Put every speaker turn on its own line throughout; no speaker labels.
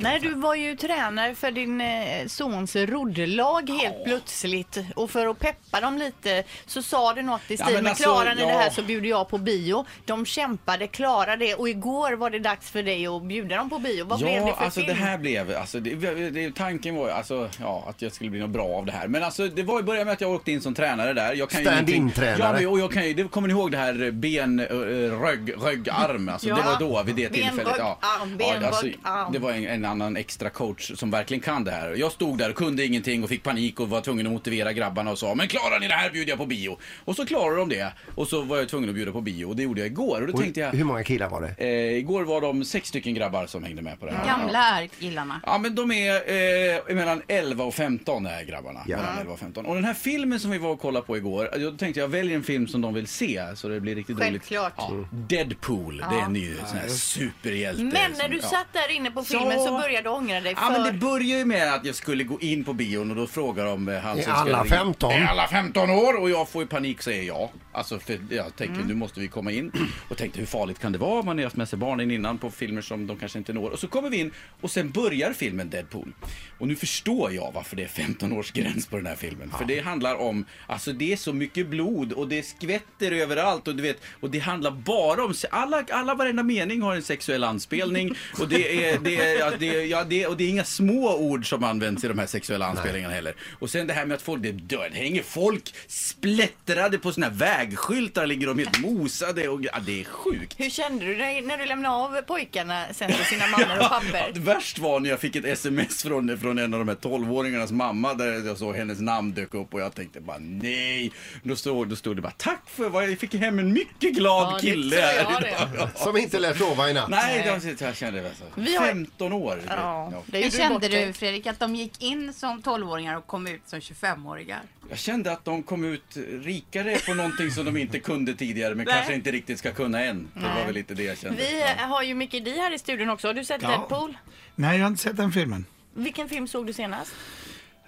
Nej, du var ju tränare för din eh, sons roddlag helt plötsligt. Och för att peppa dem lite så sa du något i stil
men
med
alltså,
klarar ni
ja."
det här så bjuder jag på bio. De kämpade, klarade det och igår var det dags för dig att bjuda dem på bio. Vad blev det för
alltså
film?
det här blev, alltså det, det, tanken var ju alltså, ja, att jag skulle bli något bra av det här. Men alltså det var i början med att jag åkte in som tränare där. Jag kan ju
Stand-in
ingenting-
tränare.
Ja, men, och jag kan ju, det, kommer ni ihåg det här ben, eh, rögg, röggarm? Alltså
Ja.
det var då vid det
Benbög,
tillfället. Ja. alltså,
arm, benbög, arm.
det var en, en annan extra coach som verkligen kan det här. Jag stod där och kunde ingenting och fick panik och var tvungen att motivera grabbarna och sa men klarar ni det här bjuder jag på bio. Och så klarade de det och så var jag tvungen att bjuda på bio och det gjorde jag igår och då tänkte jag
Hur många killar var det?
Eh, igår var de sex stycken grabbar som hängde med på det här.
Gamla är killarna.
Ja men de är eh, mellan 11 och 15 de här grabbarna.
Ja.
Mellan 11 och 15. Och den här filmen som vi var och kollade på igår, eh, då tänkte jag väljer en film som de vill se så det blir riktigt
Självklart.
roligt. Ja, Deadpool, det är en ny sån här superhjälte.
Men när
som-
du
ja.
satt där inne på filmen
Ja.
så började du ångra dig för...
Ja men det börjar ju med att jag skulle gå in på bion och då frågar de eh, han
Är
som
alla
ska...
15?
Är alla 15 år? Och jag får ju panik säger ja. Alltså för jag tänker
Mm.
nu måste vi komma in. Och tänkte hur farligt kan det vara? Man har haft med sig barnen innan på filmer som de kanske inte når. Och så kommer vi in och sen börjar filmen Deadpool. Och nu förstår jag varför det är 15 års gräns på den här filmen. För det handlar om, alltså det är så mycket blod och det skvätter överallt och du vet, och det handlar bara om, se- alla, alla varenda mening har en sexuell anspelning och det är, det är, ja, det är, ja, det är, och det är inga små ord som används i de här sexuella anspelningarna heller. Och sen det här med att folk, det dör, det hänger folk splättrade på såna här vägskyltar, ligger de helt mosade och, ja det är sjukt.
Hur kände du dig när du lämnade av pojkarna sen till sina mammor och papper?
Ja, värst var när jag fick ett sms från, från en av de här 12-åringarnas mamma där jag såg hennes namn dyka upp och jag tänkte bara nej. Då stod, då stod det bara tack för vad jag fick hem en mycket glad
Ja, det
kille.
tror jag
här
det.
idag." Ja.
Som inte lät sova i natt.
Nej, det var, jag kände det. var så.
Vi har-
15 år.
Ja,
Ja.
det
Hur
gjorde du bort
kände
dig.
du Fredrik att de gick in som 12-åringar och kom ut som 25-åringar?
Jag kände att de kom ut rikare på någonting som de inte kunde tidigare men kanske inte riktigt ska kunna än. Det var väl lite det jag kände.
Vi eh, har ju Mickey Di här i studion också. Har du sett Deadpool?
Nej, jag har inte sett den filmen.
Vilken film såg du senast?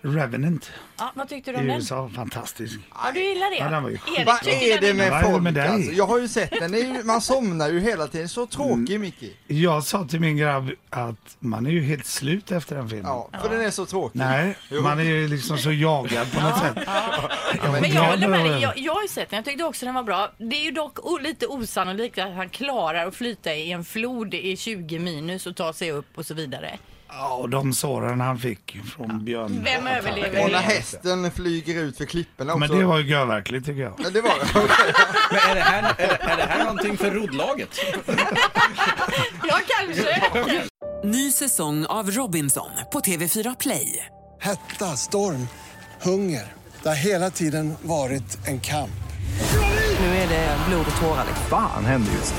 Revenant
Ja, vad tyckte du
i
om den?
USA, fantastisk.
Ja, du gillar det.
Ja, den var ju
Erik
Vad
tycker
är det
den
med
Vad är det
folk
med dig?
alltså? Jag har ju sett den, Det är ju- man somnar ju hela tiden. Så tråkig
Mm.
Mickey.
Jag sa till min grabb att man är ju helt slut efter den filmen.
Ja, för den är så tråkig.
Nej, man är ju liksom så jagad på något sätt.
Men
var
jag
glad
håller
när
med
det
dig.
var-
Jag, jag har ju sett den. Jag tyckte också den var bra. Det är ju dock o- lite osannolikt att han klarar att flyta i en flod i 20 minus och ta sig upp och så vidare.
Ja, och de såren han fick från björn.
Vem överlever
Och när
det?
hästen flyger ut för klipporna också.
Men det var ju görverkligt tycker jag.
Ja, det var det.
Men är det här, är det, är det här någonting för roddlaget?
Ja, kanske.
Ny säsong av Robinson på TV4 Play.
Hetta, storm, hunger. Det har hela tiden varit en kamp.
liksom.
Fan händer just nu.